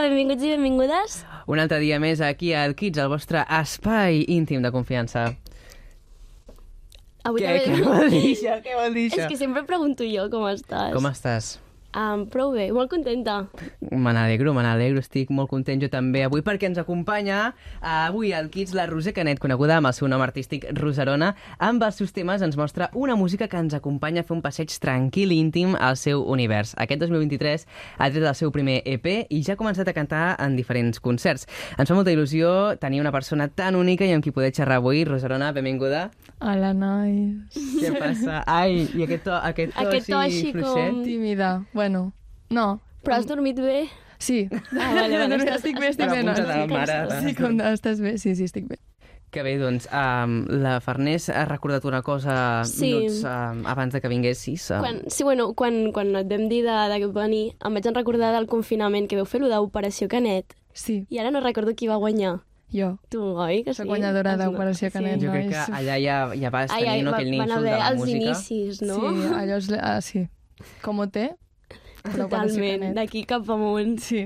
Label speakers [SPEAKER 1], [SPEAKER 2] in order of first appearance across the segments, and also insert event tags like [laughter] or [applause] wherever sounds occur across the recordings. [SPEAKER 1] Benvinguts i benvingudes.
[SPEAKER 2] Un altre dia més aquí al Kids, al vostre espai íntim de confiança.
[SPEAKER 1] Avui
[SPEAKER 2] Què,
[SPEAKER 1] també-
[SPEAKER 2] què vol dir això? Què vol dir
[SPEAKER 1] És
[SPEAKER 2] això?
[SPEAKER 1] que sempre pregunto jo com estàs.
[SPEAKER 2] Com estàs?
[SPEAKER 1] Um, prou bé, molt contenta.
[SPEAKER 2] Me n'alegro, me n'alegro, estic molt content jo també avui perquè ens acompanya eh, avui al Kids la Roser Canet, coneguda amb el seu nom artístic Roserona. Amb els seus temes ens mostra una música que ens acompanya a fer un passeig tranquil i íntim al seu univers. Aquest 2023 ha tret el seu primer EP i ja ha començat a cantar en diferents concerts. Ens fa molta il·lusió tenir una persona tan única i amb qui poder xerrar avui. Roserona, benvinguda.
[SPEAKER 3] Hola, nois.
[SPEAKER 2] Què passa? Ai, i aquest to, aquest to,
[SPEAKER 1] Aquest to així com-
[SPEAKER 2] fluixet?
[SPEAKER 3] Tímida. Bueno, no.
[SPEAKER 1] Però has dormit bé?
[SPEAKER 3] Sí.
[SPEAKER 1] Ah, vale, vale,
[SPEAKER 3] [laughs] No, no,
[SPEAKER 1] estàs-
[SPEAKER 3] estic bé, estic
[SPEAKER 2] Però
[SPEAKER 3] bé. No,
[SPEAKER 2] apunta de la
[SPEAKER 3] estic
[SPEAKER 2] mare.
[SPEAKER 3] cansada. Sí, com de- estàs bé? Sí, sí, estic bé.
[SPEAKER 2] Que bé, doncs, um, la Farners ha recordat una cosa
[SPEAKER 1] Sí.
[SPEAKER 2] minuts um, abans de que vinguessis. Um,
[SPEAKER 1] Quan, sí, bueno, quan, quan et vam dir de, de venir, em vaig recordar del confinament que veu fer-ho d'Operació Canet.
[SPEAKER 3] Sí,
[SPEAKER 1] I ara no recordo qui va guanyar.
[SPEAKER 3] jo.
[SPEAKER 1] Tu, oi? Que
[SPEAKER 3] Soc
[SPEAKER 1] sí?
[SPEAKER 3] guanyadora
[SPEAKER 1] Els no-
[SPEAKER 3] d'Operació Canet.
[SPEAKER 2] Jo crec
[SPEAKER 3] nois.
[SPEAKER 2] que allà ja, ja vas
[SPEAKER 1] Ai,
[SPEAKER 2] tenir
[SPEAKER 1] ai,
[SPEAKER 2] no,
[SPEAKER 1] va-
[SPEAKER 2] aquell
[SPEAKER 1] van
[SPEAKER 2] nínxol de
[SPEAKER 1] haver
[SPEAKER 2] la
[SPEAKER 1] els
[SPEAKER 2] música.
[SPEAKER 1] inicis, no?
[SPEAKER 3] Sí, allò és... Ah, sí. Com ho té? però Operació
[SPEAKER 1] Totalment,
[SPEAKER 3] Canet.
[SPEAKER 1] d'aquí cap amunt.
[SPEAKER 3] Sí.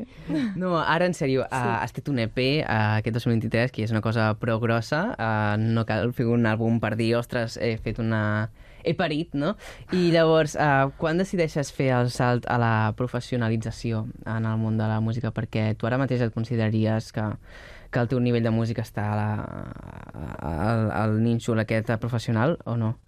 [SPEAKER 2] No, ara, en sèrio, sí. uh, has tret un EP uh, aquest 2023, que és una cosa prou grossa. Uh, no cal fer un àlbum per dir, ostres, he fet una... he parit, no? I llavors, uh, quan decideixes fer el salt a la professionalització en el món de la música? Perquè tu ara mateix et consideraries que, que el teu nivell de música està a la, a- al, al nínxol aquest eh, professional o no?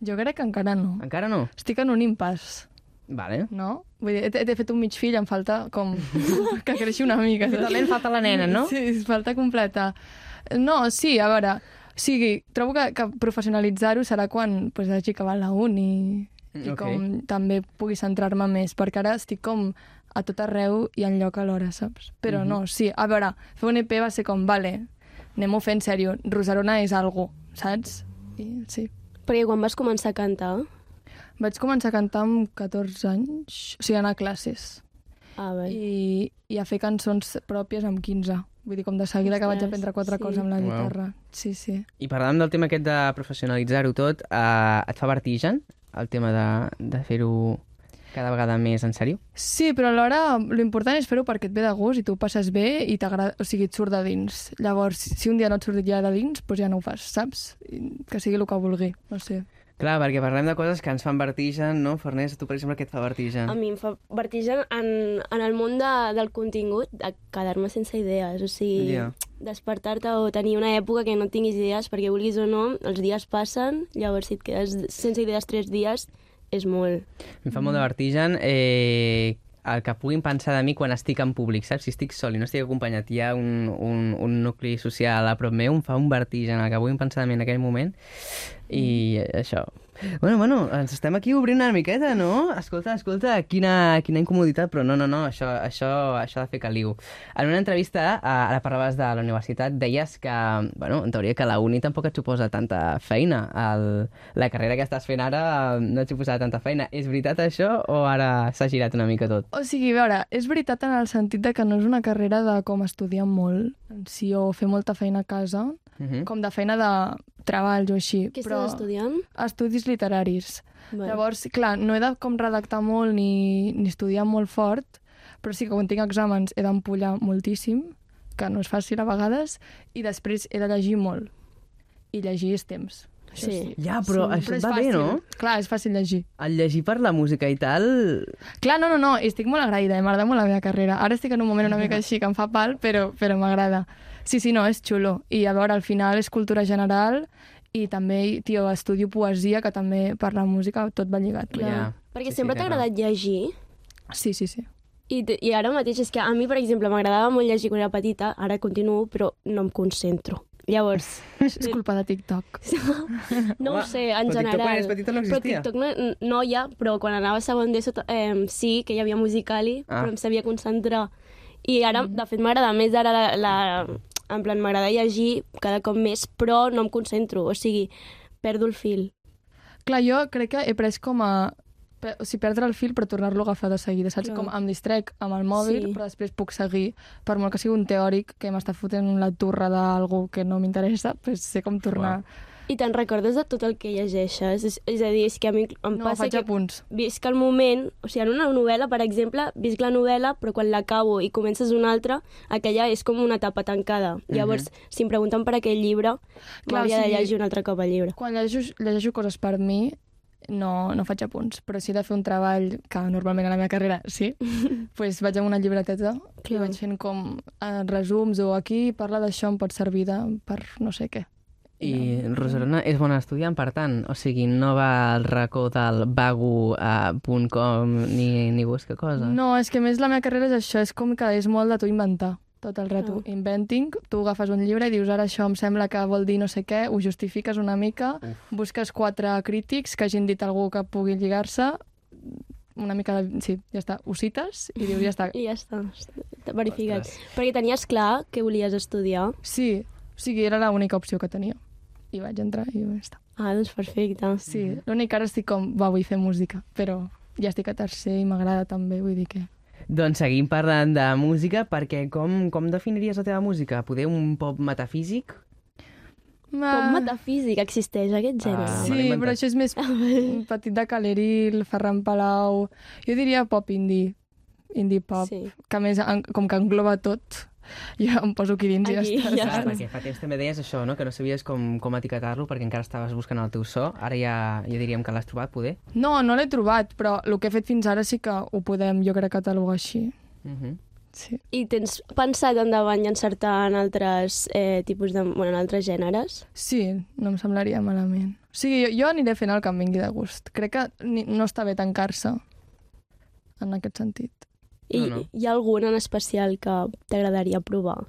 [SPEAKER 3] Jo crec que encara no.
[SPEAKER 2] Encara no?
[SPEAKER 3] Estic en un impàs,
[SPEAKER 2] Vale.
[SPEAKER 3] no? Vull dir, he, he fet un mig fill, em falta com... [laughs] que creixi una mica. saps?
[SPEAKER 2] Totalment falta la nena, no?
[SPEAKER 3] Sí, es falta completar. No, sí, a veure, o sigui, trobo que, que professionalitzar-ho serà quan pues, hagi acabat la uni
[SPEAKER 2] Ok.
[SPEAKER 3] i okay. com també pugui centrar-me més, perquè ara estic com a tot arreu i en lloc alhora, saps? Però
[SPEAKER 2] Mhm.
[SPEAKER 3] mm -hmm. no, sí, a veure, fer un EP va ser com, vale, anem-ho fent sèrio, Rosarona és algo, saps? I, sí.
[SPEAKER 1] Perquè quan vas començar a cantar...
[SPEAKER 3] Vaig començar a cantar amb 14 anys, o sigui, anar a classes.
[SPEAKER 1] Ah, bé.
[SPEAKER 3] i, i a fer cançons pròpies amb 15. Vull dir, com de seguida que vaig
[SPEAKER 1] Ostres,
[SPEAKER 3] aprendre quatre
[SPEAKER 1] sí.
[SPEAKER 3] sí. coses amb la
[SPEAKER 2] Uau.
[SPEAKER 3] guitarra. Sí, sí.
[SPEAKER 2] I parlant del tema aquest de professionalitzar-ho tot, eh, et fa vertigen el tema de, de fer-ho cada vegada més en sèrio?
[SPEAKER 3] Sí, però alhora l'important és fer-ho perquè et ve de gust i tu ho passes bé i t'agrada, o sigui, et surt de dins. Llavors, si un dia no et surt ja de dins, doncs ja no ho fas, saps? I Que sigui el que vulgui, no sé.
[SPEAKER 2] Clar, perquè parlem de coses que ens fan vertigen, no? Farners, a tu, per exemple, què et fa vertigen?
[SPEAKER 1] A mi em fa vertigen en, en el món de, del contingut, de quedar-me sense idees, o sigui,
[SPEAKER 2] Ja.
[SPEAKER 1] despertar-te o tenir una època que no tinguis idees, perquè vulguis o no, els dies passen, llavors si et quedes sense idees tres dies, és molt.
[SPEAKER 2] Em fa molt de vertigen eh, el que puguin pensar de mi quan estic en públic, saps? Si estic sol i no estic acompanyat, hi ha un, un, un nucli social a prop meu, em fa un vertigen el que puguin pensar de mi en aquell moment i això... Bueno, bueno, ens estem aquí obrint una miqueta, no? Escolta, escolta, quina, quina incomoditat, però no, no, no, això, això, això ha de fer caliu. En una entrevista a, a la parlaves de la universitat, deies que, bueno, en teoria que la uni tampoc et suposa tanta feina. El, la carrera que estàs fent ara eh, no et suposa tanta feina. És veritat això o ara s'ha girat una mica tot?
[SPEAKER 3] O sigui, a veure, és veritat en el sentit de que no és una carrera de com estudiar molt, en si o fer molta feina a casa,
[SPEAKER 2] Uh -huh.
[SPEAKER 3] com de feina de treball o així.
[SPEAKER 1] Què estàs estudiant?
[SPEAKER 3] Estudis literaris.
[SPEAKER 1] Bé.
[SPEAKER 3] Llavors, clar, no he de com redactar molt ni, ni estudiar molt fort, però sí que quan tinc exàmens he d'empollar moltíssim, que no és fàcil a vegades, i després he de llegir molt. I llegir és temps. Això
[SPEAKER 1] Sí.
[SPEAKER 2] Ja, però això et
[SPEAKER 3] és
[SPEAKER 2] va bé,
[SPEAKER 3] fàcil.
[SPEAKER 2] no?
[SPEAKER 3] Clar, és fàcil llegir.
[SPEAKER 2] El llegir per la música i tal...
[SPEAKER 3] Clar, no, no, no, i estic molt agraïda, eh? m'agrada molt la meva carrera. Ara estic en un moment una mica així que em fa pal, però, però m'agrada. Sí, sí, no, és xulo. I a veure, al final és cultura general i també, tio, estudio poesia, que també per la música tot va lligat.
[SPEAKER 2] Ja.
[SPEAKER 1] Perquè
[SPEAKER 2] Sí, sí,
[SPEAKER 1] sempre
[SPEAKER 2] té
[SPEAKER 1] t'ha
[SPEAKER 2] raó.
[SPEAKER 1] agradat llegir,
[SPEAKER 3] Sí, sí, sí.
[SPEAKER 1] i, t- i ara mateix és que a mi, per exemple, m'agradava molt llegir quan era petita, ara continuo, però no em concentro. Llavors,
[SPEAKER 3] És, és culpa de TikTok.
[SPEAKER 1] [laughs] No
[SPEAKER 2] Home,
[SPEAKER 1] ho sé, en
[SPEAKER 2] però TikTok
[SPEAKER 1] general.
[SPEAKER 2] quan eres petita no existia.
[SPEAKER 1] Però TikTok no, no hi ha, però quan anava a segon d'ESO eh, sí que hi havia Musical.ly,
[SPEAKER 2] Ah.
[SPEAKER 1] ah. però em sabia concentrar. I ara,
[SPEAKER 3] Mm.
[SPEAKER 1] de fet, m'agrada més ara la, la... En plan, m'agrada llegir cada cop més, però no em concentro, o sigui, perdo el fil.
[SPEAKER 3] Clar, jo crec que he pres com a... pe- O sigui, perdre el fil però tornar-lo a agafar de seguida, saps?
[SPEAKER 1] Clar.
[SPEAKER 3] Com em distrec amb el mòbil,
[SPEAKER 1] Sí.
[SPEAKER 3] sí. però després puc seguir. Per molt que sigui un teòric que m'està fotent la turra d'algú que no m'interessa, pues sé com tornar. Wow.
[SPEAKER 1] I te'n recordes de tot el que llegeixes? És, és a dir, és que a mi em
[SPEAKER 3] No,
[SPEAKER 1] passa
[SPEAKER 3] faig
[SPEAKER 1] que
[SPEAKER 3] apunts.
[SPEAKER 1] visc el moment, o sigui, en una novel·la, per exemple, visc la novel·la, però quan l'acabo i comences una altra, aquella és com una etapa tancada. Llavors, si em pregunten per aquell llibre,
[SPEAKER 3] Mhm. Clar,
[SPEAKER 1] m'hauria
[SPEAKER 3] o
[SPEAKER 1] de
[SPEAKER 3] sigui-
[SPEAKER 1] llegir un altre cop el llibre.
[SPEAKER 3] Quan llegeixo, llegeixo coses per mi, no, no faig apunts, però si he de fer un treball, que normalment a la meva carrera
[SPEAKER 1] [laughs]
[SPEAKER 3] sí, pues vaig amb una llibreteta i
[SPEAKER 1] Clar.
[SPEAKER 3] vaig fent com eh, resums o aquí parla d'això em pot servir de, per no sé què.
[SPEAKER 2] I Roserona és bona estudiant, per tant, o sigui, no va al racó del vago.com ni, ni busca cosa.
[SPEAKER 3] No, és que a més la meva carrera és això, és com que és molt de tu inventar tot el rato.
[SPEAKER 1] Ah.
[SPEAKER 3] Inventing, tu agafes un llibre i dius ara això em sembla que vol dir no sé què, ho justifiques una mica, busques quatre crítics que hagin dit algú que pugui lligar-se, una mica de... Sí, ja està, ho cites i dius ja està.
[SPEAKER 1] I ja està, està verificat.
[SPEAKER 2] Ostres.
[SPEAKER 1] Perquè tenies clar que volies estudiar.
[SPEAKER 3] Sí, o sigui, era l'única opció que tenia. I vaig entrar i ja està.
[SPEAKER 1] Ah, doncs perfecte.
[SPEAKER 3] Sí, l'únic que ara estic com, va, vull fer música, però ja estic a tercer i m'agrada també, vull dir que...
[SPEAKER 2] Doncs seguim parlant de música, perquè com, com definiries la teva música? Poder un pop metafísic?
[SPEAKER 1] Com metafísic existeix aquest gènere?
[SPEAKER 2] Ah, me l'he
[SPEAKER 3] Ah. Sí,
[SPEAKER 2] inventat.
[SPEAKER 3] però això és més petit de Caleril, Ferran Palau... Jo diria pop indie, indie pop, sí.
[SPEAKER 1] Sí.
[SPEAKER 3] que a més, en, com que engloba tot, jo em poso aquí dins
[SPEAKER 1] Aquí,
[SPEAKER 3] i ja està.
[SPEAKER 1] ja
[SPEAKER 2] Clar,
[SPEAKER 3] saps?
[SPEAKER 2] perquè fa temps també deies això, no? que no sabies com, com etiquetar-lo perquè encara estaves buscant el teu so. Ara ja, ja diríem que l'has trobat, poder.
[SPEAKER 3] No, no l'he trobat, però el que he fet fins ara sí que ho podem, jo crec, catalogar així.
[SPEAKER 2] Uh -huh.
[SPEAKER 3] Sí.
[SPEAKER 1] I tens pensat endavant i encertar en altres eh, tipus de... Bueno, en altres gèneres?
[SPEAKER 3] Sí, no em semblaria malament. O sigui, jo, jo aniré fent el que em vingui de gust. Crec que ni, no està bé tancar-se en aquest sentit.
[SPEAKER 1] I
[SPEAKER 2] No, no.
[SPEAKER 1] hi ha algun en especial que t'agradaria provar?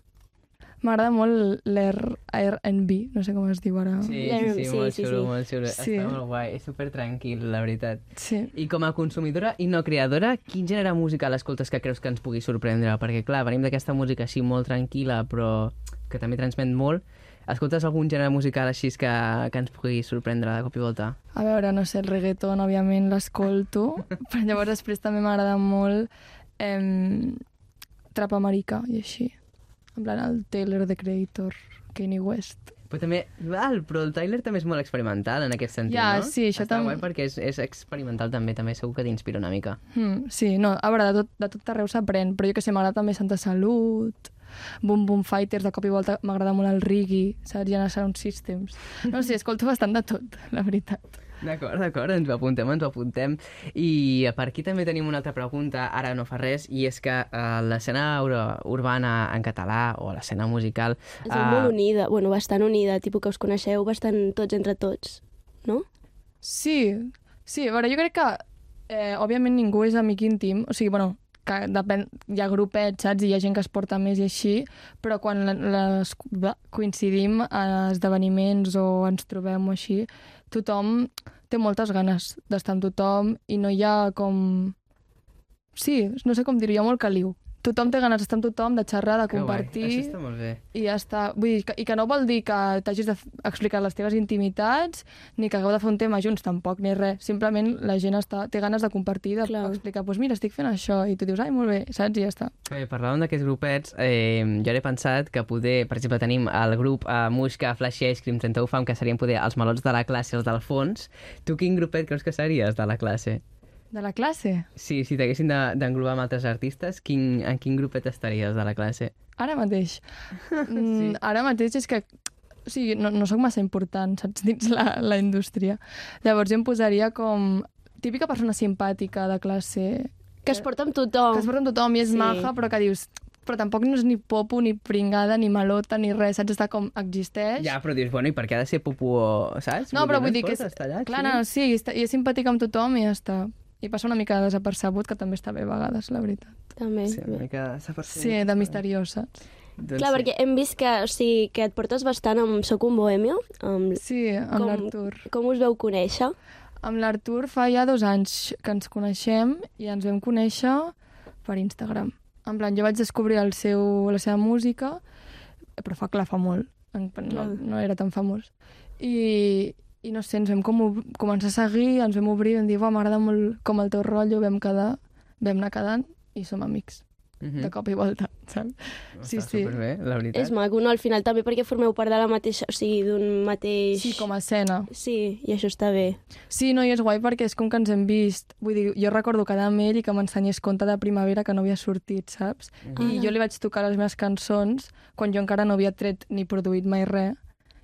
[SPEAKER 3] M'agrada molt l'R&B, no sé com es diu ara.
[SPEAKER 2] Sí, sí, sí,
[SPEAKER 1] Sí,
[SPEAKER 2] molt
[SPEAKER 1] sí,
[SPEAKER 2] xulo,
[SPEAKER 1] sí.
[SPEAKER 2] molt xulo.
[SPEAKER 3] Sí.
[SPEAKER 2] Està molt guai, és super tranquil, la veritat.
[SPEAKER 3] sí.
[SPEAKER 2] I com a consumidora i no creadora, quin gènere musical escoltes que creus que ens pugui sorprendre? Perquè, clar, venim d'aquesta música així molt tranquil·la, però que també transmet molt. Escoltes algun gènere musical així que, que ens pugui sorprendre de cop i volta?
[SPEAKER 3] A veure, no sé, el reggaeton, òbviament, l'escolto, però llavors després també m'agrada molt eh, trap americà i així. En plan, el Taylor, The Creator, Kanye West.
[SPEAKER 2] Però també, val, però el Tyler també és molt experimental en aquest sentit,
[SPEAKER 3] Ja,
[SPEAKER 2] no?
[SPEAKER 3] sí, això
[SPEAKER 2] Està
[SPEAKER 3] tam-
[SPEAKER 2] guai perquè és, és experimental també, també segur que t'inspira una mica.
[SPEAKER 3] Hmm, sí, no, a veure, de tot, de tot arreu s'aprèn, però jo que sé, m'agrada també Santa Salut, Boom Boom Fighters, de cop i volta m'agrada molt el Riggy, saps? Jana Sound Systems. No sé, escolto bastant de tot, la veritat.
[SPEAKER 2] D'acord, d'acord, ens ho apuntem, ens ho apuntem. I per aquí també tenim una altra pregunta, ara no fa res, i és que eh, l'escena ur urbana en català o l'escena musical... eh,
[SPEAKER 1] Es veu molt unida, bueno, bastant unida, tipus que us coneixeu bastant tots entre tots, no?
[SPEAKER 3] Sí, sí, a veure, jo crec que eh, òbviament ningú és amic íntim, o sigui, bueno, que depèn, hi ha grupets, saps? I hi ha gent que es porta més i així, però quan la- les, va, coincidim a esdeveniments o ens trobem o així, tothom té moltes ganes d'estar amb tothom i no hi ha com... Sí, no sé com dir-ho, hi ha molt caliu. Tothom té ganes d'estar amb tothom, de xerrar, de
[SPEAKER 2] Que guai,
[SPEAKER 3] compartir...
[SPEAKER 2] Això està molt bé.
[SPEAKER 3] I ja està. Vull dir, que, i que no vol dir que t'hagis d'explicar les teves intimitats ni que hagueu de fer un tema junts, tampoc, ni res. Simplement la gent està, té ganes de compartir,
[SPEAKER 1] Clar.
[SPEAKER 3] d'explicar, de doncs mira, estic fent això, i tu dius, ai, molt bé, saps? I ja està.
[SPEAKER 2] Bé, parlàvem d'aquests grupets, eh, jo ara he pensat que poder, per exemple, tenim el grup eh, Muixca, Flashy Ice Cream, 31 Fam, que serien poder els malots de la classe, els del fons. Tu quin grupet creus que series de la classe?
[SPEAKER 3] De la classe?
[SPEAKER 2] Sí, si t'haguessin de- d'englobar amb altres artistes, quin, en quin grupet estaries de la classe?
[SPEAKER 3] Ara [laughs] mateix. Mm, Ara mateix és que o sigui, no, no sóc massa important, saps, dins la, la indústria. Llavors jo em posaria com típica persona simpàtica de classe,
[SPEAKER 1] Que es porta amb
[SPEAKER 3] que es
[SPEAKER 1] tothom.
[SPEAKER 3] porta amb tothom i
[SPEAKER 1] Oh.
[SPEAKER 3] és
[SPEAKER 1] Sí.
[SPEAKER 3] sí. maja, però que dius però tampoc no és ni popo, ni pringada, ni malota, ni res, saps? Està com existeix.
[SPEAKER 2] Ja, però dius, bueno, i per què ha de ser popu o... Saps?
[SPEAKER 3] No, però vull dir que és...
[SPEAKER 2] és... Allà,
[SPEAKER 3] Clar, no, sí, i, està, i és simpàtic amb tothom i ja està. I passa una mica desapercebut, que també està bé a vegades, la veritat.
[SPEAKER 1] També.
[SPEAKER 2] Sí, una mica s'ha
[SPEAKER 3] Sí, de misteriós, saps?
[SPEAKER 2] Doncs
[SPEAKER 1] Clar, perquè hem vist que, o sigui, que et portes bastant amb Soc un bohemio. Amb...
[SPEAKER 3] Sí, amb
[SPEAKER 1] Com-
[SPEAKER 3] l'Artur.
[SPEAKER 1] Com us veu conèixer?
[SPEAKER 3] Amb l'Artur fa ja dos anys que ens coneixem i ens vam conèixer per Instagram. En plan, jo vaig descobrir el seu, la seva música, però fa clar, fa molt. En plan, No,
[SPEAKER 1] Clar.
[SPEAKER 3] no era tan famós. I, I no sé, ens vam com, ob- començar a seguir, ens vam obrir, vam dir, "Buah, m'agrada molt com el teu rotllo, vam quedar, vam anar quedant i som amics.
[SPEAKER 2] Mhm.
[SPEAKER 3] de cop i volta, saps? Sí,
[SPEAKER 2] Està
[SPEAKER 3] sí.
[SPEAKER 2] superbé, la veritat.
[SPEAKER 1] És maco, no? Al final també perquè formeu part de la mateixa... O sigui, d'un mateix...
[SPEAKER 3] Sí, com a escena.
[SPEAKER 1] Sí, i això està bé.
[SPEAKER 3] Sí, no, i és guai perquè és com que ens hem vist. Vull dir, jo recordo quedar amb ell i que m'ensenyés conte de primavera que no havia sortit, saps? I
[SPEAKER 1] Ara.
[SPEAKER 3] jo li vaig tocar les meves cançons quan jo encara no havia tret ni produït mai res.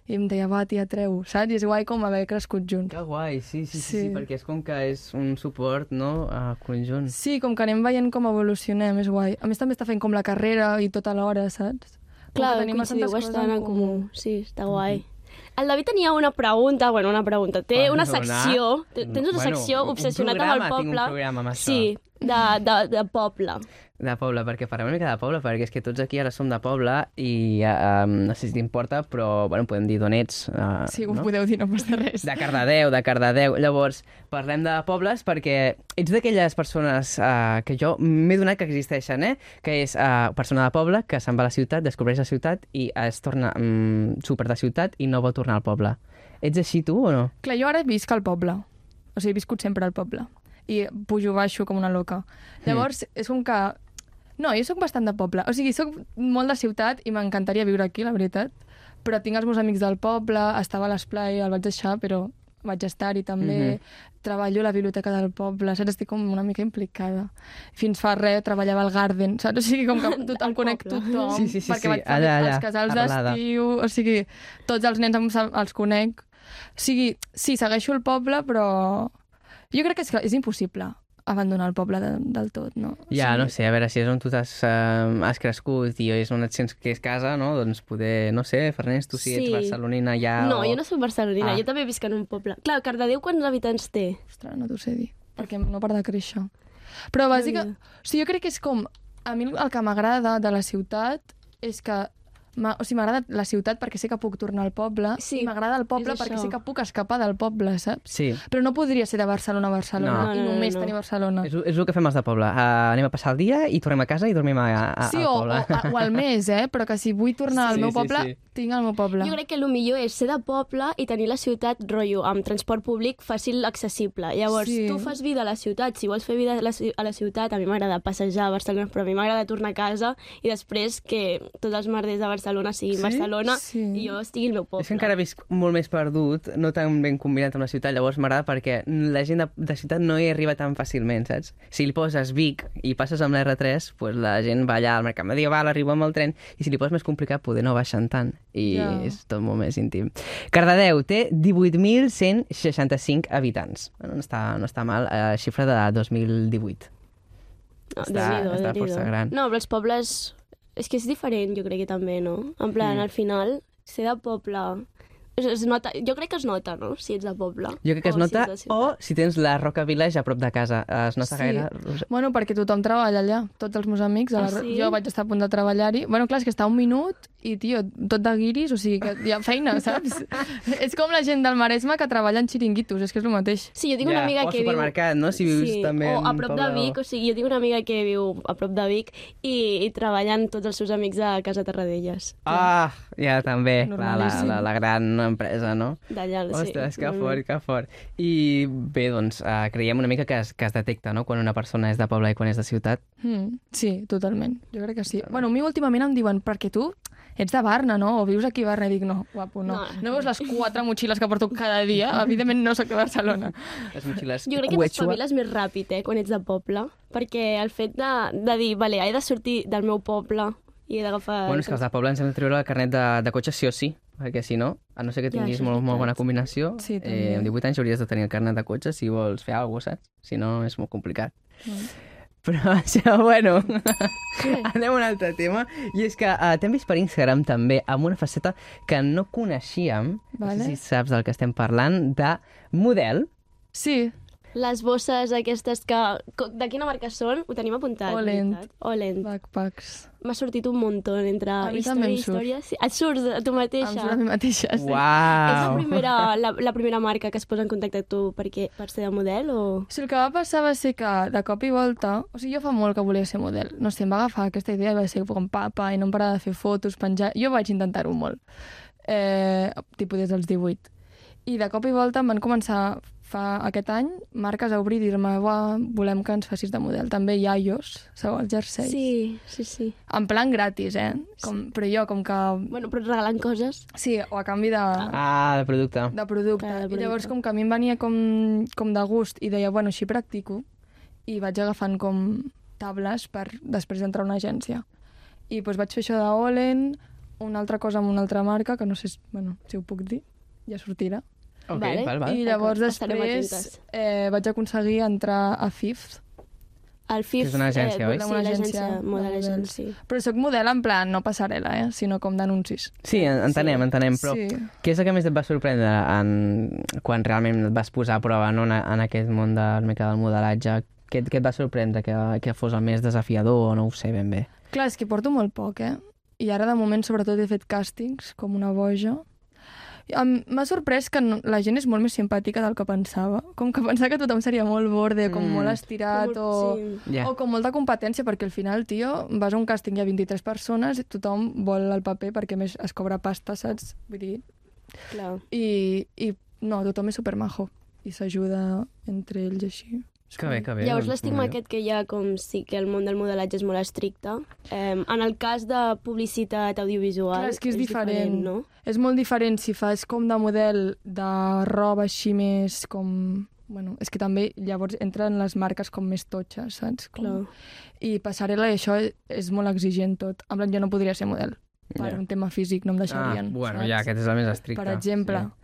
[SPEAKER 3] I em deia, va, tia, treu, saps? I és guai com haver crescut junts.
[SPEAKER 2] Que guai, sí, sí, sí, sí,
[SPEAKER 3] Sí.
[SPEAKER 2] perquè és com que és un suport, no?, a conjunt.
[SPEAKER 3] Sí, com que anem veient com evolucionem, és guai. A més, també està fent com la carrera i tota l'hora, saps? Com
[SPEAKER 1] Clar,
[SPEAKER 3] que
[SPEAKER 1] tenim
[SPEAKER 3] bastantes
[SPEAKER 1] coincidiu
[SPEAKER 3] coses Mm-hmm.
[SPEAKER 1] bastant en comú. Sí, està guai. El David tenia una pregunta, bueno, una pregunta. Té una secció, té- tens una
[SPEAKER 2] Mm, Bueno,
[SPEAKER 1] secció
[SPEAKER 2] un
[SPEAKER 1] obsessionat amb el
[SPEAKER 2] programa, tinc
[SPEAKER 1] poble.
[SPEAKER 2] un programa amb això.
[SPEAKER 1] Sí, de, de, de poble.
[SPEAKER 2] De poble, perquè farem una mica de poble, perquè és que tots aquí ara som de poble i eh, em, no sé si t'importa, però, bueno, podem dir d'on ets. Eh,
[SPEAKER 3] Sí, ho
[SPEAKER 2] no?
[SPEAKER 3] podeu dir, no passa res.
[SPEAKER 2] De Cardedeu, de Cardedeu. Llavors, parlem de pobles perquè ets d'aquelles persones uh, que jo m'he donat que existeixen, eh? Que és uh, persona de poble que se'n va a la ciutat, descobreix la ciutat i es torna um, super de ciutat i no vol tornar al poble. Ets així tu o no?
[SPEAKER 3] Clar, jo ara visc al poble. O sigui, he viscut sempre al poble. I pujo baixo com una loca.
[SPEAKER 2] Hmm.
[SPEAKER 3] Llavors, és com que... No, jo sóc bastant de poble. O sigui, sóc molt de ciutat i m'encantaria viure aquí, la veritat. Però tinc els meus amics del poble, estava a l'esplai, el vaig deixar, però vaig estar-hi també.
[SPEAKER 2] Mhm.
[SPEAKER 3] Treballo a la biblioteca del poble, saps? Estic com una mica implicada. Fins fa res treballava al Garden, saps? O sigui, com que tot, em
[SPEAKER 1] Del
[SPEAKER 3] conec
[SPEAKER 1] poble.
[SPEAKER 3] tothom,
[SPEAKER 2] Sí, sí, sí,
[SPEAKER 3] perquè
[SPEAKER 2] sí,
[SPEAKER 3] vaig fer
[SPEAKER 2] allà, allà,
[SPEAKER 3] els casals
[SPEAKER 2] arrelada.
[SPEAKER 3] d'estiu viu, o sigui, tots els nens em sa- els conec. O sigui, sí, segueixo el poble, però jo crec que és, que és impossible abandonar el poble de, del tot, no? O
[SPEAKER 2] Ja,
[SPEAKER 3] sigui,
[SPEAKER 2] no sé, a veure, si és on tu t'has uh, has crescut i és on et sents que és casa, no? Doncs poder, no sé, Fernández, tu si ets
[SPEAKER 1] Sí.
[SPEAKER 2] barcelonina ja...
[SPEAKER 1] No,
[SPEAKER 2] o...
[SPEAKER 1] jo no soc barcelonina,
[SPEAKER 2] Ah.
[SPEAKER 1] jo també visc en un poble. Clar, Cardedeu quants habitants té?
[SPEAKER 3] Ostres, no t'ho sé dir, perquè no para de créixer. Però bàsicament... O sigui, jo crec que és com... A mi el que m'agrada de la ciutat és que m'a- o sigui, m'agrada la ciutat perquè sé que puc tornar al poble
[SPEAKER 1] Sí,
[SPEAKER 3] i m'agrada el poble
[SPEAKER 1] és
[SPEAKER 3] perquè
[SPEAKER 1] això.
[SPEAKER 3] sé que puc escapar del poble, saps?
[SPEAKER 2] Sí,
[SPEAKER 3] Però no podria ser de Barcelona a Barcelona
[SPEAKER 2] No.
[SPEAKER 1] No,
[SPEAKER 3] i
[SPEAKER 1] no, no,
[SPEAKER 3] només
[SPEAKER 1] no.
[SPEAKER 3] tenir Barcelona.
[SPEAKER 2] és, és el que fem els de poble. Uh, anem a passar el dia i tornem a casa i dormim a, a,
[SPEAKER 3] sí,
[SPEAKER 2] al
[SPEAKER 3] o,
[SPEAKER 2] Ah, poble.
[SPEAKER 3] o, o al mes, eh? Però que si vull tornar
[SPEAKER 2] Sí,
[SPEAKER 3] al meu
[SPEAKER 2] sí,
[SPEAKER 3] poble,
[SPEAKER 2] sí.
[SPEAKER 3] tinc el meu poble.
[SPEAKER 1] Jo crec que el millor és ser de poble i tenir la ciutat, rotllo, amb transport públic fàcil accessible. Llavors,
[SPEAKER 3] Sí.
[SPEAKER 1] sí. tu fas vida a la ciutat, si vols fer vida a la, ci- a la ciutat, a mi m'agrada passejar a Barcelona, però a mi m'agrada tornar a casa i després que tots els merders de Barcelona siguin
[SPEAKER 2] Sí?
[SPEAKER 1] sí? Barcelona
[SPEAKER 3] Sí.
[SPEAKER 1] i jo estigui al meu poble.
[SPEAKER 2] És que encara visc molt més perdut, no tan ben combinat amb la ciutat, llavors m'agrada perquè la gent de, de ciutat no hi arriba tan fàcilment, saps? Si li poses Vic i passes amb la R3, pues la gent va allà al mercat medieval, arriba amb el tren, i si li poses més complicat, poder no baixen tant, i
[SPEAKER 3] Ja.
[SPEAKER 2] és tot molt més íntim. Cardedeu té 18.165 habitants. Bueno, no, està, no està mal, eh, xifra de 2018.
[SPEAKER 1] No,
[SPEAKER 2] Està-
[SPEAKER 1] Déu-n'hi-do,
[SPEAKER 2] està
[SPEAKER 1] Déu-n'hi-do.
[SPEAKER 2] força gran.
[SPEAKER 1] No, però els pobles... És que és diferent, jo crec que també, no? En plan,
[SPEAKER 2] Mm.
[SPEAKER 1] al final, ser de poble... Es, es nota, jo crec que es nota, no?, si ets de poble.
[SPEAKER 2] Jo crec que es
[SPEAKER 1] o si
[SPEAKER 3] Oh,
[SPEAKER 2] nota,
[SPEAKER 1] ets de ciutat.
[SPEAKER 2] o si tens la Roca Village a prop de casa, eh, es nota
[SPEAKER 3] Sí.
[SPEAKER 2] gaire... Rosa?
[SPEAKER 3] Bueno, perquè tothom treballa allà, tots els meus amics. A la...
[SPEAKER 1] Ah, sí?
[SPEAKER 3] Jo vaig estar a punt de treballar-hi. Bueno, clar, és que està un minut i, tio, tot de guiris, o sigui que hi ha feina, [laughs] saps? és com la gent del Maresme que treballa en xiringuitos, és que és el mateix.
[SPEAKER 1] Sí, jo tinc una
[SPEAKER 2] Ja,
[SPEAKER 1] amiga
[SPEAKER 2] o
[SPEAKER 1] que viu...
[SPEAKER 2] supermercat, no? Si vius també
[SPEAKER 1] o
[SPEAKER 2] en
[SPEAKER 1] a prop de
[SPEAKER 2] poble-
[SPEAKER 1] Vic, o sigui, jo tinc una amiga que viu a prop de Vic i, i treballen tots els seus amics a Casa Terradellas.
[SPEAKER 2] Ah, ja també, clar, la,
[SPEAKER 3] Normalíssim.
[SPEAKER 2] la, la gran empresa, no?
[SPEAKER 1] D'allà, sí.
[SPEAKER 2] Ostres, que
[SPEAKER 1] Mm.
[SPEAKER 2] fort, que fort. I bé, doncs, eh, creiem una mica que es, que es detecta, no?, quan una persona és de poble i quan és de ciutat.
[SPEAKER 3] Mm, sí, totalment. Jo crec que sí. Bueno, a mi últimament em diuen, perquè tu ets de Barna, no? O vius aquí a Barna? I dic, no, guapo, no.
[SPEAKER 1] No.
[SPEAKER 3] No, veus les quatre motxilles que porto cada dia? Evidentment no sóc de Barcelona.
[SPEAKER 2] Les motxilles...
[SPEAKER 1] Jo crec que
[SPEAKER 2] Quechua.
[SPEAKER 1] t'espaviles més ràpid, eh, quan ets de poble, perquè el fet de, de dir, vale, he de sortir del meu poble i he d'agafar...
[SPEAKER 2] Bueno, és que els de poble ens hem de treure el carnet de, de cotxe sí o sí, perquè si no, a no ser que
[SPEAKER 1] Ja,
[SPEAKER 2] tinguis
[SPEAKER 1] això és
[SPEAKER 2] molt, molt bona
[SPEAKER 1] veritat.
[SPEAKER 2] combinació,
[SPEAKER 3] Sí,
[SPEAKER 2] eh,
[SPEAKER 3] també.
[SPEAKER 2] amb 18 anys hauries de tenir el carnet de cotxe si vols fer alguna cosa, saps? Si no, és molt complicat.
[SPEAKER 3] Mm.
[SPEAKER 2] Però [laughs] això, bueno, anem a un altre tema. I és que uh, t'hem vist per Instagram també amb una faceta que no coneixíem, no
[SPEAKER 3] Vale.
[SPEAKER 2] sé si saps del que estem parlant, de model.
[SPEAKER 3] Sí,
[SPEAKER 1] Les bosses aquestes que... co- De quina marca són? Ho tenim apuntat.
[SPEAKER 3] Olent.
[SPEAKER 1] veritat. Olent.
[SPEAKER 3] backpacks.
[SPEAKER 1] M'ha sortit un muntó entre
[SPEAKER 3] A mi
[SPEAKER 1] història
[SPEAKER 3] també em
[SPEAKER 1] i història. Sí, et surts a tu mateixa.
[SPEAKER 3] Em surt a mi mateixa, sí.
[SPEAKER 1] És la
[SPEAKER 2] Uau!
[SPEAKER 1] primera, la, la primera marca que es posa en contacte amb tu perquè, per ser de model o...?
[SPEAKER 3] O sigui, el que va passar va ser que, de cop i volta... O sigui, jo fa molt que volia ser model. No sé, em va agafar aquesta idea i va ser com papa i no em parava de fer fotos, penjar... Jo vaig intentar-ho molt. Eh, tipus des dels 18. I de cop i volta em van començar fa aquest any, marques a obrir i dir-me "Buah, volem que ens facis de model. També iaios, segons jersei.
[SPEAKER 1] Sí, sí, sí.
[SPEAKER 3] En plan gratis, eh? Com, Però jo, com que...
[SPEAKER 1] Bueno, però et regalen coses.
[SPEAKER 3] Sí, o a canvi de...
[SPEAKER 2] Ah, de producte.
[SPEAKER 3] de producte.
[SPEAKER 1] Clar, de
[SPEAKER 3] I llavors
[SPEAKER 1] producte.
[SPEAKER 3] com que a mi em venia com, com de gust i deia, bueno, així practico i vaig agafant com tables per després entrar a una agència. I doncs vaig fer això de Olen, una altra cosa amb una altra marca, que no sé si, bueno, si ho puc dir, ja sortirà.
[SPEAKER 2] Ok,
[SPEAKER 1] Vale.
[SPEAKER 2] val, val.
[SPEAKER 3] I llavors
[SPEAKER 1] D'acord, estarem
[SPEAKER 3] després
[SPEAKER 1] atentes.
[SPEAKER 3] eh, vaig aconseguir entrar a Fifth,
[SPEAKER 1] El FIF...
[SPEAKER 2] Que és una agència, oi?
[SPEAKER 1] Sí,
[SPEAKER 3] Una
[SPEAKER 1] l'agència
[SPEAKER 3] agència de
[SPEAKER 1] Model
[SPEAKER 3] models.
[SPEAKER 1] Agency.
[SPEAKER 3] però sóc model en plan, no passarel·la, eh? sinó com d'anuncis.
[SPEAKER 2] Sí, en- entenem, entenem, però
[SPEAKER 3] Sí.
[SPEAKER 2] què és el que més et va sorprendre en... quan realment et vas posar a prova no? en, en aquest món del mercat del modelatge? Què, et- què et va sorprendre? Que, que fos el més desafiador o no ho sé ben bé?
[SPEAKER 3] Clar, és que porto molt poc, eh? I ara, de moment, sobretot he fet càstings, com una boja. Em- M'ha sorprès que no, la gent és molt més simpàtica del que pensava. Com que pensava que tothom seria molt borde, com
[SPEAKER 2] Mm.
[SPEAKER 3] mm. molt estirat o... Sí.
[SPEAKER 1] Sí.
[SPEAKER 2] Ja.
[SPEAKER 3] Yeah. O com molta competència, perquè al final, tio, vas a un càsting, hi ha 23 persones i tothom vol el paper perquè a més es cobra pasta, saps? Vull dir...
[SPEAKER 1] Clar.
[SPEAKER 3] I, i no, tothom és supermajo i s'ajuda entre ells i així.
[SPEAKER 2] Que bé, que bé.
[SPEAKER 1] Llavors
[SPEAKER 2] doncs,
[SPEAKER 1] l'estigma
[SPEAKER 2] molt bé.
[SPEAKER 1] aquest que hi ha com sí que el món del modelatge és molt estricte. Eh, en el cas de publicitat audiovisual...
[SPEAKER 3] Clar, és que és diferent.
[SPEAKER 1] no?
[SPEAKER 3] És molt diferent si fas com de model de roba així més com... Bueno, és que també llavors entren les marques com més totxes, saps? Com...
[SPEAKER 1] Clar.
[SPEAKER 3] I passarel·la i això és molt exigent tot. En plan, jo no podria ser model per
[SPEAKER 2] Ja.
[SPEAKER 3] un tema físic, no em
[SPEAKER 2] Ah,
[SPEAKER 3] deixarien.
[SPEAKER 2] bueno,
[SPEAKER 3] eh? saps?
[SPEAKER 2] ja, aquest és el més estricte.
[SPEAKER 3] per exemple.
[SPEAKER 2] Sí.
[SPEAKER 3] Sí.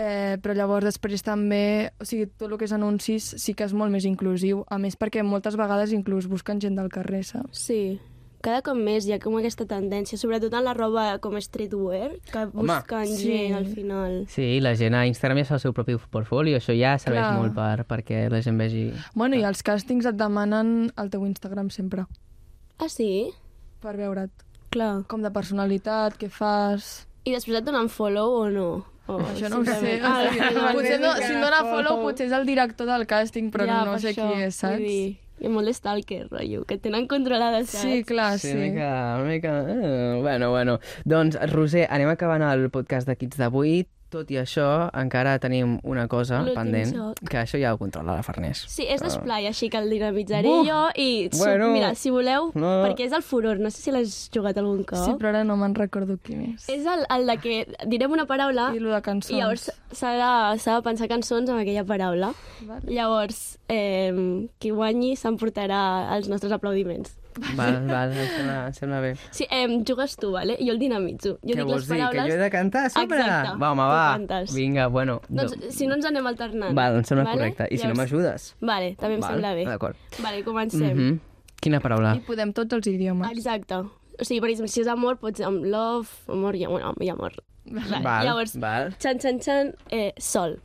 [SPEAKER 3] Eh, però llavors després també, o sigui, tot el que és anuncis sí que és molt més inclusiu, a més perquè moltes vegades inclús busquen gent del carrer, saps?
[SPEAKER 1] Sí. Cada cop més hi ha com aquesta tendència, sobretot en la roba com streetwear, que busquen
[SPEAKER 3] sí.
[SPEAKER 1] gent al final.
[SPEAKER 2] Sí, la gent a Instagram ja fa el seu propi portfolio, això ja serveix
[SPEAKER 3] Clar.
[SPEAKER 2] molt per, perquè la gent vegi...
[SPEAKER 3] Bueno,
[SPEAKER 2] Ah.
[SPEAKER 3] i els càstings et demanen el teu Instagram sempre
[SPEAKER 1] Ah, sí?
[SPEAKER 3] per veure't.
[SPEAKER 1] Clar.
[SPEAKER 3] com de personalitat, què fas...
[SPEAKER 1] I després et donen follow o no? O
[SPEAKER 3] Això no ho sé.
[SPEAKER 1] simplement- Ah,
[SPEAKER 3] Ah, [laughs] potser no, si em dona follow, potser és el director del càsting, però
[SPEAKER 1] ja,
[SPEAKER 3] ja, no
[SPEAKER 1] per
[SPEAKER 3] sé
[SPEAKER 1] això,
[SPEAKER 3] qui és,
[SPEAKER 1] vull
[SPEAKER 3] saps?
[SPEAKER 1] dir, Hi ha molt stalker, rotllo, que et tenen controlada, saps?
[SPEAKER 3] Sí, clar,
[SPEAKER 2] Sí,
[SPEAKER 3] sí.
[SPEAKER 2] una mica... Una mica... eh, bueno, bueno. Doncs, Roser, anem acabant el podcast de Kids d'avui. Tot i això, encara tenim una cosa
[SPEAKER 1] L'últim
[SPEAKER 2] pendent,
[SPEAKER 1] joc.
[SPEAKER 2] que això ja ho controla la Farners.
[SPEAKER 1] Sí, és d'esplai, així que el dinamitzaré
[SPEAKER 2] Buf!
[SPEAKER 1] jo i... su-
[SPEAKER 2] Ah. Bueno.
[SPEAKER 1] mira, si voleu,
[SPEAKER 2] No.
[SPEAKER 1] perquè és el furor, no sé si l'has jugat algun cop.
[SPEAKER 3] Sí, però ara no me'n recordo qui més.
[SPEAKER 1] És el, el de que direm una paraula
[SPEAKER 3] I lo de cançons.
[SPEAKER 1] Ah, i llavors s'ha de, s'ha de pensar cançons amb aquella paraula.
[SPEAKER 3] Vale.
[SPEAKER 1] Llavors, eh, qui guanyi s'emportarà els nostres aplaudiments.
[SPEAKER 2] Val, val, em sembla, em sembla bé.
[SPEAKER 1] Sí, eh, jugues tu, vale? jo el dinamitzo. Jo
[SPEAKER 2] Què
[SPEAKER 1] dic les
[SPEAKER 2] vols dir? Que
[SPEAKER 1] paraules...
[SPEAKER 2] jo he de cantar a sobre?
[SPEAKER 1] Exacte,
[SPEAKER 2] va, home,
[SPEAKER 1] tu
[SPEAKER 2] va.
[SPEAKER 1] cantes.
[SPEAKER 2] Vinga, bueno.
[SPEAKER 1] Doncs si no ens anem alternant.
[SPEAKER 2] Val, em sembla correcte. I si no m'ajudes?
[SPEAKER 1] Vale, també em
[SPEAKER 2] Val,
[SPEAKER 1] sembla bé.
[SPEAKER 2] d'acord.
[SPEAKER 1] Vale, comencem.
[SPEAKER 2] Mhm. Quina paraula?
[SPEAKER 3] I podem tots els idiomes.
[SPEAKER 1] Exacte. O sigui, per exemple, si és amor, pots amb love, amor i amor. Bueno, i amor. Vale.
[SPEAKER 2] Val,
[SPEAKER 1] Llavors,
[SPEAKER 2] val.
[SPEAKER 1] xan, xan, xan, eh, sol.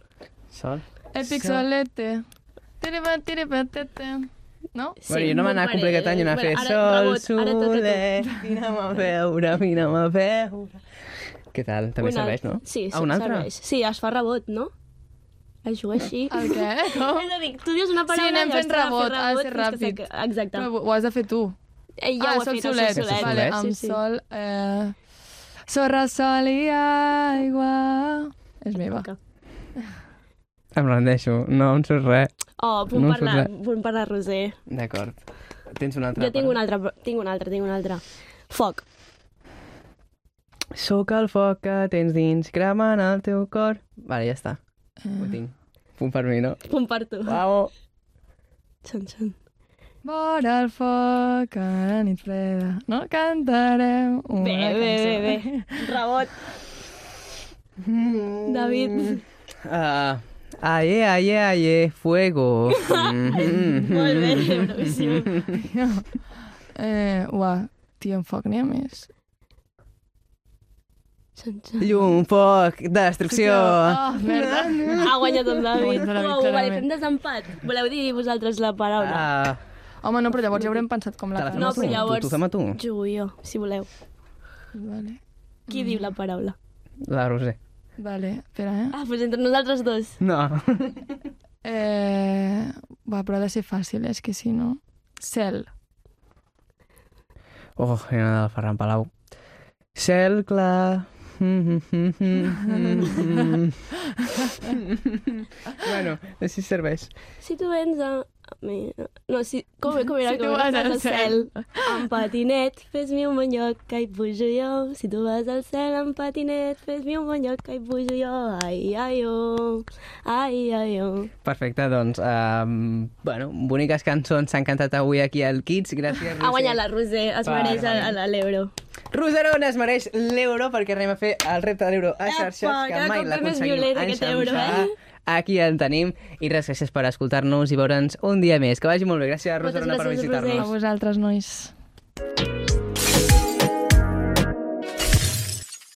[SPEAKER 2] Sol.
[SPEAKER 3] Epic
[SPEAKER 2] Sí.
[SPEAKER 3] solete. Tiripa, tiripa, tete. No?
[SPEAKER 1] Sí,
[SPEAKER 2] Sí, bueno, jo no
[SPEAKER 1] molt
[SPEAKER 2] m'anava a complicar tant, jo anava a fer
[SPEAKER 1] parell. eh?
[SPEAKER 2] sol,
[SPEAKER 1] Bueno, ara, rebot, ara toca
[SPEAKER 2] soler, vine'm a veure, vine'm a veure. Què tal? També
[SPEAKER 1] Un
[SPEAKER 2] serveix,
[SPEAKER 1] altre.
[SPEAKER 2] no?
[SPEAKER 1] Sí, sí
[SPEAKER 2] ah, un altre?
[SPEAKER 1] serveix. Sí, es fa rebot, no? Es juga així.
[SPEAKER 3] El què?
[SPEAKER 1] [laughs]
[SPEAKER 3] Com?
[SPEAKER 1] És a dir, tu dius una paraula
[SPEAKER 3] Sí, anem
[SPEAKER 1] i
[SPEAKER 3] fent
[SPEAKER 1] llavors t'ha de fer
[SPEAKER 3] rebot, ha de ser
[SPEAKER 1] fins que
[SPEAKER 3] ràpid.
[SPEAKER 1] s'aca- Exacte.
[SPEAKER 3] Però ho has de fer tu.
[SPEAKER 1] Eh, ja
[SPEAKER 3] ah,
[SPEAKER 1] ho ha
[SPEAKER 3] sol
[SPEAKER 1] fet, el
[SPEAKER 3] solet.
[SPEAKER 1] sol solet.
[SPEAKER 3] Vale,
[SPEAKER 2] Sí,
[SPEAKER 3] amb sol... Eh... Sorra, sol i aigua... És meva.
[SPEAKER 2] Em rendeixo, no em surt res.
[SPEAKER 1] Oh, punt,
[SPEAKER 2] No Ah,
[SPEAKER 1] per la,
[SPEAKER 2] surt
[SPEAKER 1] punt per la Roser.
[SPEAKER 2] D'acord. Tens un altre.
[SPEAKER 1] Jo tinc un altre, però- tinc un altre, tinc un altre. Foc.
[SPEAKER 2] Soc el foc que tens dins, cremant el teu cor. Vale, ja està. Ho tinc. Punt per mi, no?
[SPEAKER 1] Punt per tu.
[SPEAKER 2] Vamos.
[SPEAKER 1] Xan, xan.
[SPEAKER 3] Vora el foc, que la nit freda, no cantarem una
[SPEAKER 1] Bé,
[SPEAKER 3] cançó.
[SPEAKER 1] bé, bé,
[SPEAKER 3] [laughs]
[SPEAKER 1] bé. Rebot. David.
[SPEAKER 2] Mm. Ah, aie, aie, aie,
[SPEAKER 1] [laughs]
[SPEAKER 2] fuego. Mhm.
[SPEAKER 1] Molt bé, Eurovisió.
[SPEAKER 3] Eh, uà, tio, en foc n'hi ha més.
[SPEAKER 1] Xan, xan.
[SPEAKER 2] Llum, foc, destrucció.
[SPEAKER 3] Oh,
[SPEAKER 1] [laughs]
[SPEAKER 3] merda.
[SPEAKER 1] Ha guanyat el David.
[SPEAKER 3] Ha guanyat el David,
[SPEAKER 1] Uau, vale,
[SPEAKER 3] clarament.
[SPEAKER 1] fem desempat. Voleu dir vosaltres la paraula?
[SPEAKER 2] Ah,
[SPEAKER 3] Home, no, però llavors ja haurem pensat com
[SPEAKER 2] te
[SPEAKER 3] la
[SPEAKER 2] la fem
[SPEAKER 1] No,
[SPEAKER 2] a tu.
[SPEAKER 3] cançó.
[SPEAKER 1] però llavors-
[SPEAKER 2] Tu, tu fem a tu.
[SPEAKER 1] Jugo jo, si voleu.
[SPEAKER 3] Vale.
[SPEAKER 1] Qui diu la paraula?
[SPEAKER 2] La Roser.
[SPEAKER 3] Vale, espera, eh?
[SPEAKER 1] Ah, doncs entre nosaltres dos.
[SPEAKER 2] No.
[SPEAKER 3] eh va, però ha de ser fàcil, és que si no... Cel.
[SPEAKER 2] Oh, era del Ferran Palau. Cel clar, bueno, així serveix.
[SPEAKER 1] Si tu vens a... mi- No, si... Com, com era?
[SPEAKER 3] Si
[SPEAKER 1] com
[SPEAKER 3] tu
[SPEAKER 1] era?
[SPEAKER 3] vas al cel.
[SPEAKER 1] amb patinet, fes-mi un bon lloc que hi pujo jo. Si tu vas al cel amb patinet, fes-mi un bon lloc que hi pujo jo. Ai, ai, oh. Ai, ai, oh.
[SPEAKER 2] Perfecte, doncs, um, bueno, boniques cançons s'han cantat avui aquí al Kids. Gràcies, Roser.
[SPEAKER 1] Ha guanyat la Roser, es
[SPEAKER 2] Va,
[SPEAKER 1] mereix a- a l'Euro.
[SPEAKER 2] Roserona es mereix l'euro perquè anem a fer el repte de l'euro a
[SPEAKER 1] Apa,
[SPEAKER 2] xarxes, que
[SPEAKER 1] cada
[SPEAKER 2] mai
[SPEAKER 1] cop té més
[SPEAKER 2] l'aconseguim
[SPEAKER 1] violent aquest euro,
[SPEAKER 2] enxamfar.
[SPEAKER 1] eh?
[SPEAKER 2] Aquí el tenim. I res, gràcies per escoltar-nos i veure'ns un dia més. Que vagi molt bé. Gràcies,
[SPEAKER 1] Moltes
[SPEAKER 2] Roserona, per
[SPEAKER 1] gràcies,
[SPEAKER 2] visitar-nos.
[SPEAKER 1] Roser.
[SPEAKER 3] A vosaltres, nois.